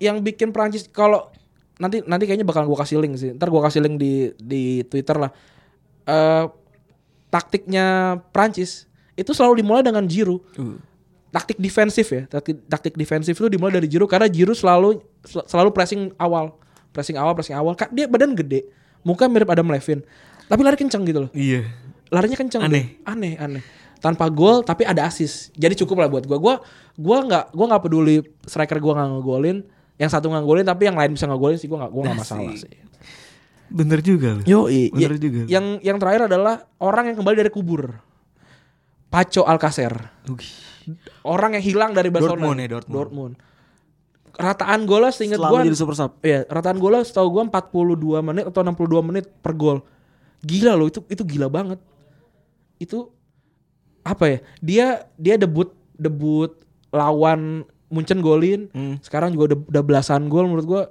[SPEAKER 2] yang bikin Prancis kalau nanti nanti kayaknya bakal gua kasih link sih. Ntar gua kasih link di di Twitter lah. Eh taktiknya Prancis itu selalu dimulai dengan Giroud. Taktik defensif ya. Taktik, taktik defensif itu dimulai dari Giroud karena Giroud selalu sel- selalu pressing awal. Pressing awal, pressing awal. Ka- Dia badan gede, muka mirip Adam Levine. Tapi lari kenceng gitu loh
[SPEAKER 4] iya.
[SPEAKER 2] larinya kencang
[SPEAKER 4] Aneh.
[SPEAKER 2] deh. aneh aneh tanpa gol tapi ada assist jadi cukup lah buat gua gua gua nggak gua nggak peduli striker gua nggak ngegolin yang satu nggak ngegolin tapi yang lain bisa ngegolin sih gua nggak gua nggak masalah sih
[SPEAKER 4] Bener juga loh.
[SPEAKER 2] yo i- i-
[SPEAKER 4] Bener juga.
[SPEAKER 2] yang yang terakhir adalah orang yang kembali dari kubur Paco Alcacer
[SPEAKER 4] Ugh.
[SPEAKER 2] orang yang hilang dari Barcelona
[SPEAKER 4] Dortmund ya, Dortmund.
[SPEAKER 2] rataan golnya seingat
[SPEAKER 4] Selalu
[SPEAKER 2] gua
[SPEAKER 4] jadi super sub.
[SPEAKER 2] Iya, rataan golnya setahu gua 42 menit atau 62 menit per gol. Gila loh itu itu gila banget. Itu apa ya? Dia dia debut debut lawan Munchen golin. Sekarang juga udah, udah belasan gol menurut gua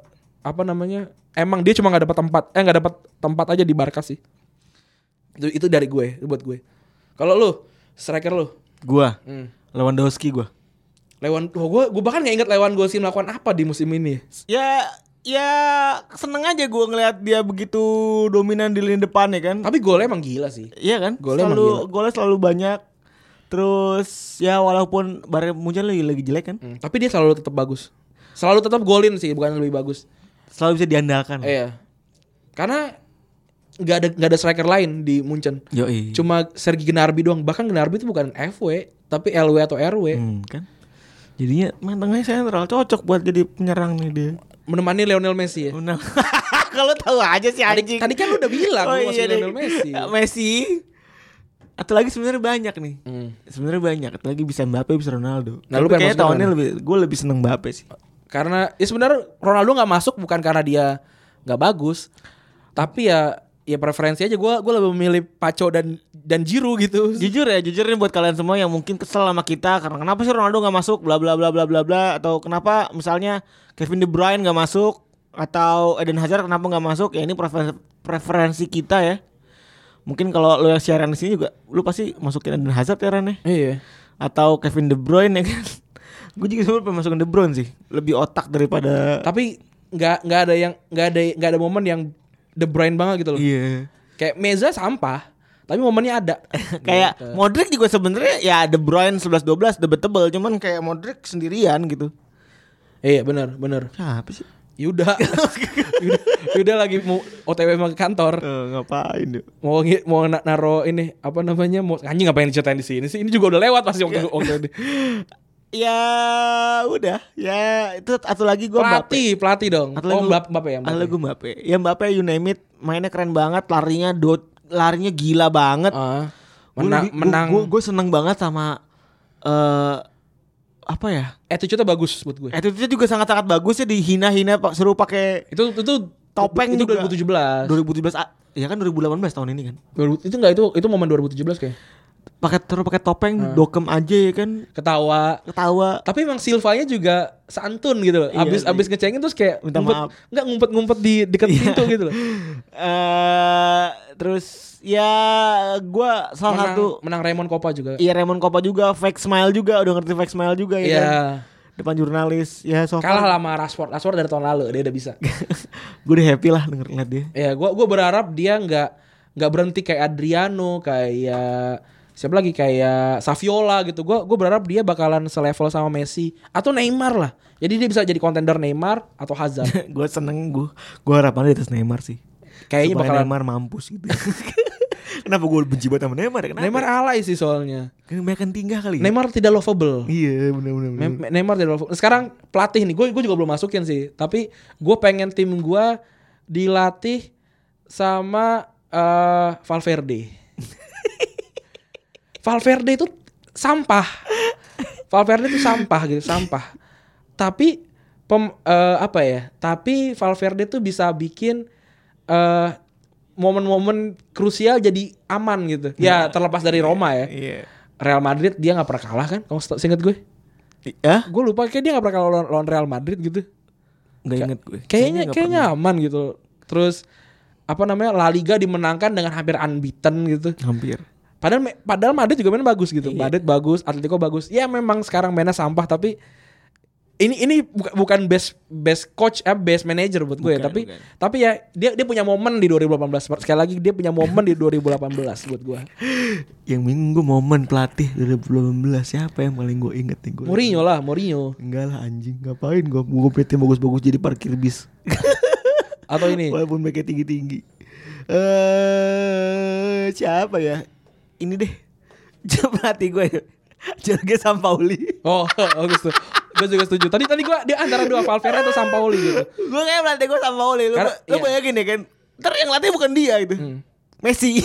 [SPEAKER 2] apa namanya? Emang dia cuma nggak dapat tempat, eh nggak dapat tempat aja di Barca sih. Itu itu dari gue, itu buat gue. Kalau lu striker lu,
[SPEAKER 4] Gua
[SPEAKER 2] hmm.
[SPEAKER 4] Lewandowski gua.
[SPEAKER 2] Lewan, oh, gue gue bahkan nggak inget Lewan Gosin melakukan apa di musim ini.
[SPEAKER 4] Ya ya seneng aja gua ngelihat dia begitu dominan di lini depan ya kan.
[SPEAKER 2] Tapi golnya emang gila sih.
[SPEAKER 4] Iya kan?
[SPEAKER 2] Golnya emang
[SPEAKER 4] selalu
[SPEAKER 2] gila.
[SPEAKER 4] golnya selalu banyak. Terus ya walaupun Bayern Munchen lagi, lagi jelek kan,
[SPEAKER 2] Hmm, tapi dia selalu tetap bagus. Selalu tetap golin sih, bukan lebih bagus.
[SPEAKER 4] selalu bisa diandalkan.
[SPEAKER 2] Iya. Karena nggak ada nggak ada striker lain di Munchen.
[SPEAKER 4] Yoi.
[SPEAKER 2] Cuma Sergi Gnabry doang. Bahkan Gnabry itu bukan FW, tapi LW atau RW.
[SPEAKER 4] Hmm, kan. Jadinya main tengahnya sentral cocok buat jadi penyerang nih dia.
[SPEAKER 2] Menemani Lionel Messi ya.
[SPEAKER 4] Menang. Kalau tahu aja sih
[SPEAKER 2] Tadi,
[SPEAKER 4] anjing.
[SPEAKER 2] tadi kan lu udah bilang
[SPEAKER 4] Oh
[SPEAKER 2] lu masukin
[SPEAKER 4] iya deh.
[SPEAKER 2] Lionel Messi.
[SPEAKER 4] Messi. Atau lagi sebenarnya banyak nih.
[SPEAKER 2] Hmm.
[SPEAKER 4] Sebenarnya banyak. Atau lagi bisa Mbappe, bisa Ronaldo.
[SPEAKER 2] Nah, lu pengen
[SPEAKER 4] Tapi kayaknya
[SPEAKER 2] masukin
[SPEAKER 4] tahunnya
[SPEAKER 2] mana?
[SPEAKER 4] lebih gue lebih seneng Mbappe sih.
[SPEAKER 2] Karena ya sebenarnya Ronaldo nggak masuk bukan karena dia nggak bagus, tapi ya ya preferensi aja gue gue lebih memilih Paco dan dan Jiru gitu.
[SPEAKER 4] Jujur ya, jujur nih buat kalian semua yang mungkin kesel sama kita karena kenapa sih Ronaldo nggak masuk, bla bla bla bla bla bla, atau kenapa misalnya Kevin De Bruyne nggak masuk, atau Eden Hazard kenapa nggak masuk? Ya ini prefer- preferensi kita ya. Mungkin kalau lo yang siaran di sini juga, lo pasti masukin Eden Hazard ya Ren ya?
[SPEAKER 2] Iya.
[SPEAKER 4] atau Kevin De Bruyne ya kan? Gue juga sebenarnya pengen masukin De Bruyne sih, lebih otak daripada.
[SPEAKER 2] Tapi nggak nggak ada yang nggak ada nggak ada momen yang The Bruyne banget gitu loh.
[SPEAKER 4] Iya.
[SPEAKER 2] Kayak Meza sampah, Tapi momennya ada.
[SPEAKER 4] Kayak
[SPEAKER 2] Gitu.
[SPEAKER 4] Modric juga sebenarnya ya De Bruyne 11-12 debatable cuman kayak Modric sendirian gitu.
[SPEAKER 2] Iya benar benar. Ya
[SPEAKER 4] Siapa sih?
[SPEAKER 2] Yuda. Yuda, Yuda lagi mau OTW mau ke kantor.
[SPEAKER 4] Eh, ngapain yuk?
[SPEAKER 2] Mau ngi- mau na- naro ini apa namanya? Mau anjing ngapain diceritain di sini sih? Ini juga udah lewat pasti waktu waktu ini.
[SPEAKER 4] Ya udah, ya itu satu lagi gue
[SPEAKER 2] Pelatih, pelatih dong.
[SPEAKER 4] Atau
[SPEAKER 2] Oh,
[SPEAKER 4] lagu-
[SPEAKER 2] Mbak Mbak ya.
[SPEAKER 4] Lalu gue Mbappe. Ya Mbappe you name it, mainnya keren banget, larinya dot, larinya gila banget.
[SPEAKER 2] Ah,
[SPEAKER 4] Gua
[SPEAKER 2] menang
[SPEAKER 4] lebih- gua-
[SPEAKER 2] menang
[SPEAKER 4] Gua, gua seneng banget sama eh apa ya?
[SPEAKER 2] attitude-nya Eh, bagus buat gue.
[SPEAKER 4] Attitude juga sangat-sangat bagus ya dihina-hina pak suruh pakai
[SPEAKER 2] Itu itu
[SPEAKER 4] Topeng
[SPEAKER 2] itu
[SPEAKER 4] juga.
[SPEAKER 2] 2017.
[SPEAKER 4] 2017 ah, ya kan 2018 tahun ini kan.
[SPEAKER 2] 2000 itu enggak itu itu momen 2017 kayak.
[SPEAKER 4] Pakai terus pakai topeng
[SPEAKER 2] Hmm.
[SPEAKER 4] dokem aja ya kan
[SPEAKER 2] Ketawa.
[SPEAKER 4] ketawa.
[SPEAKER 2] Tapi emang Silvanya juga santun gitu loh.
[SPEAKER 4] Iya
[SPEAKER 2] Abis
[SPEAKER 4] sih.
[SPEAKER 2] abis ngecengin terus kayak
[SPEAKER 4] Minta
[SPEAKER 2] ngumpet,
[SPEAKER 4] maaf. Iya.
[SPEAKER 2] Enggak ngumpet-ngumpet di dekat pintu gitu loh.
[SPEAKER 4] Eh terus ya gua salah
[SPEAKER 2] Menang,
[SPEAKER 4] satu
[SPEAKER 2] menang Raymond Kopa juga.
[SPEAKER 4] Iya Raymond Kopa juga fake smile juga udah ngerti fake smile juga ya kan?
[SPEAKER 2] Iya.
[SPEAKER 4] depan jurnalis ya so
[SPEAKER 2] Kalah
[SPEAKER 4] far
[SPEAKER 2] lama Rashford. Rashford dari tahun lalu dia udah bisa.
[SPEAKER 4] gue udah happy lah denger ngeliat dia
[SPEAKER 2] ya, gua gua berharap dia nggak nggak berhenti kayak Adriano, kayak siapa lagi kayak Saviola gitu. Gua gua berharap dia bakalan selevel sama Messi atau Neymar lah. Jadi dia bisa jadi kontender Neymar atau Hazard.
[SPEAKER 4] gue seneng gue gue harapannya di atas Neymar sih
[SPEAKER 2] Kayaknya
[SPEAKER 4] Supaya
[SPEAKER 2] bakalan Neymar,
[SPEAKER 4] Neymar mampus gitu kenapa gue benci banget sama Neymar ya? kenapa
[SPEAKER 2] alay sih soalnya.
[SPEAKER 4] kan mereka kan tinggal kali ya?
[SPEAKER 2] Neymar tidak lovable.
[SPEAKER 4] iya bener bener, bener.
[SPEAKER 2] Me- Neymar tidak lovable. Sekarang pelatih nih, gue gue juga belum masukin sih. Tapi gue pengen tim gue dilatih sama eh, Valverde. Valverde itu sampah. Valverde itu sampah gitu, sampah. Tapi pem, eh, apa ya? Tapi Valverde tuh bisa bikin eh, momen-momen krusial jadi aman gitu. Ya terlepas dari Roma ya.
[SPEAKER 4] iya
[SPEAKER 2] Real Madrid dia nggak pernah kalah kan? Kamu seta- seingat gue?
[SPEAKER 4] ah
[SPEAKER 2] gue lupa kayak dia nggak pernah kalah lawan- lawan Real Madrid gitu
[SPEAKER 4] nggak inget gue
[SPEAKER 2] kayaknya
[SPEAKER 4] nggak
[SPEAKER 2] kayaknya aman gitu terus apa namanya La Liga dimenangkan dengan hampir unbeaten gitu
[SPEAKER 4] pernah. hampir
[SPEAKER 2] padahal me- padahal Madrid juga main bagus
[SPEAKER 4] Iya.
[SPEAKER 2] gitu Madrid bagus Atletico bagus ya memang sekarang mainnya sampah tapi ini ini buka- bukan best best coach eh, best manager buat gue ya
[SPEAKER 4] Bukan,
[SPEAKER 2] tapi
[SPEAKER 4] bukan.
[SPEAKER 2] tapi ya dia dia punya momen di 2018 sekali lagi dia punya momen di 2018 buat gue
[SPEAKER 4] yang bingung gue momen pelatih dari 2018 siapa yang paling gue inget nih gue
[SPEAKER 2] Mourinho lah Mourinho
[SPEAKER 4] enggak lah anjing ngapain gue gue PT bagus-bagus jadi parkir bis
[SPEAKER 2] atau ini
[SPEAKER 4] Walaupun mereka tinggi-tinggi. Eh siapa ya? Ini deh. Coba hati gue. Jorge Sampaoli.
[SPEAKER 2] oh bagus tuh gue juga setuju tadi tadi gue dia antara dua Valverde atau Sampaoli gitu
[SPEAKER 4] gue kayak melatih gue Sampaoli. Lu,
[SPEAKER 2] Karena-
[SPEAKER 4] lu
[SPEAKER 2] iya. Hmm.
[SPEAKER 4] bayangin ya kan. Ntar yang latih bukan dia gitu. Messi.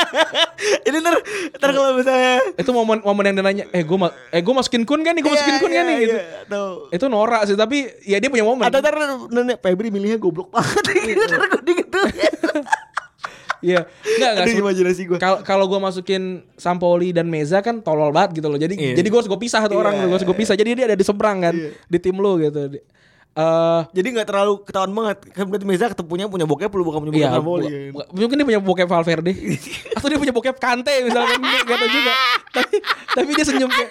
[SPEAKER 4] Ini ntar, ntar kalau misalnya.
[SPEAKER 2] itu momen momen yang dia nanya eh gue ma- eh gue masukin kun kan nih
[SPEAKER 4] Iya,
[SPEAKER 2] gue masukin kun kan nih gitu
[SPEAKER 4] Atau,
[SPEAKER 2] itu norak sih tapi ya dia punya momen
[SPEAKER 4] atau iya, ntar nenek Febri milihnya goblok banget. Ntar gue gitu.
[SPEAKER 2] iya nggak nggak
[SPEAKER 4] Aduh
[SPEAKER 2] sebe-
[SPEAKER 4] imajinasi gue.
[SPEAKER 2] kalau kalau gue masukin Sampoli dan Meza kan tolol banget gitu loh jadi
[SPEAKER 4] Iya.
[SPEAKER 2] jadi gue harus gue pisah tuh orang gue harus gue pisah jadi dia ada di seberang kan di tim lo gitu Di- eh
[SPEAKER 4] Jadi gak terlalu ketahuan banget. Kan berarti Meza ketemunya punya bokep lu bukan punya bokep
[SPEAKER 2] Iya,
[SPEAKER 4] Sampaoli.
[SPEAKER 2] bu-
[SPEAKER 4] ya kan?
[SPEAKER 2] bu- mungkin dia punya bokep Valverde atau dia punya bokep Kante misalkan nggak nggak tahu juga. Tapi, tapi dia senyum kayak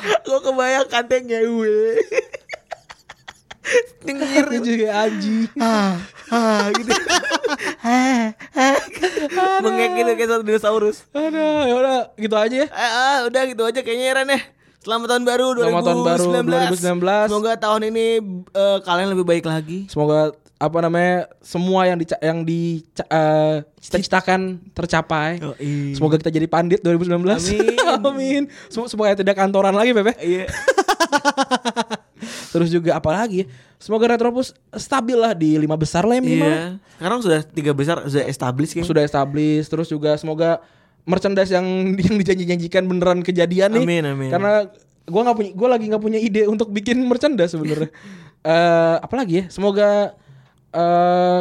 [SPEAKER 4] Gue kebayang kanteng ngewe Nyengir
[SPEAKER 2] dia juga anjing.
[SPEAKER 4] Ah, ah gitu Ah, ah. Mengek gitu kayak satu dinosaurus
[SPEAKER 2] Aduh, ya udah gitu aja ya.
[SPEAKER 4] ah, ah, Udah gitu aja kayaknya Ren ya Selamat tahun baru 2019
[SPEAKER 2] Selamat tahun baru 2019.
[SPEAKER 4] Semoga tahun ini eh, kalian lebih baik lagi
[SPEAKER 2] Semoga apa namanya semua yang di yang di eh, cita-citakan tercapai.
[SPEAKER 4] Yoi.
[SPEAKER 2] Semoga kita jadi pandit 2019.
[SPEAKER 4] Amin.
[SPEAKER 2] Amin. Sem- Semoga tidak kantoran lagi, Bebe.
[SPEAKER 4] Iya
[SPEAKER 2] Terus juga apa lagi? ya? Semoga Retropus stabil lah di lima besar lah ya minimal.
[SPEAKER 4] Iya Sekarang sudah tiga besar Sudah established kayaknya
[SPEAKER 2] Sudah established. Terus juga semoga merchandise yang yang dijanji-janjikan beneran kejadian nih.
[SPEAKER 4] Amin, amin.
[SPEAKER 2] Karena gua nggak punya gua lagi nggak punya ide untuk bikin merchandise sebenarnya. Eh apalagi ya? Semoga eh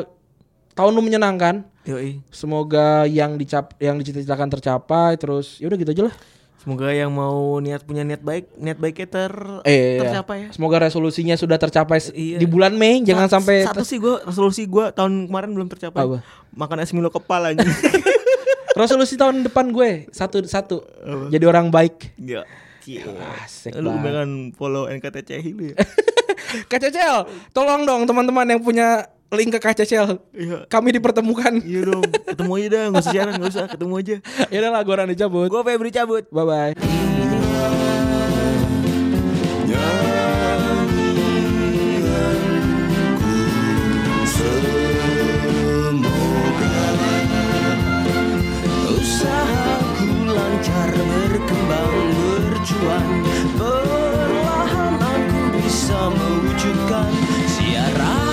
[SPEAKER 2] tahun lu menyenangkan.
[SPEAKER 4] Yoi.
[SPEAKER 2] Semoga yang dicap yang dicita-citakan tercapai terus ya udah gitu aja lah.
[SPEAKER 4] Semoga yang mau niat punya niat baik Niat baiknya ter
[SPEAKER 2] Eh
[SPEAKER 4] tercapai ya
[SPEAKER 2] Semoga resolusinya sudah tercapai se-
[SPEAKER 4] Iya.
[SPEAKER 2] di bulan Mei jangan
[SPEAKER 4] Sa-
[SPEAKER 2] sampai
[SPEAKER 4] satu Eh, sih gue resolusi gue tahun kemarin belum tercapai
[SPEAKER 2] Apa?
[SPEAKER 4] makan es milo kepala anjing
[SPEAKER 2] resolusi tahun depan gue satu satu jadi orang baik.
[SPEAKER 4] ya
[SPEAKER 2] Asik
[SPEAKER 4] lu
[SPEAKER 2] banget.
[SPEAKER 4] jangan follow NKTCHI lu ya
[SPEAKER 2] KCCL, tolong dong teman-teman yang punya link ke KCCL.
[SPEAKER 3] Iya.
[SPEAKER 2] Kami dipertemukan.
[SPEAKER 3] Iya dong, ketemu aja dah, nggak usah siaran, nggak usah, ketemu aja.
[SPEAKER 2] Ya udah lah gue Rani cabut.
[SPEAKER 3] Gue Febri cabut.
[SPEAKER 2] Bye bye.
[SPEAKER 6] Semoga usahaku lancar berkembang berjuang Perlahan aku bisa mewujudkan siaran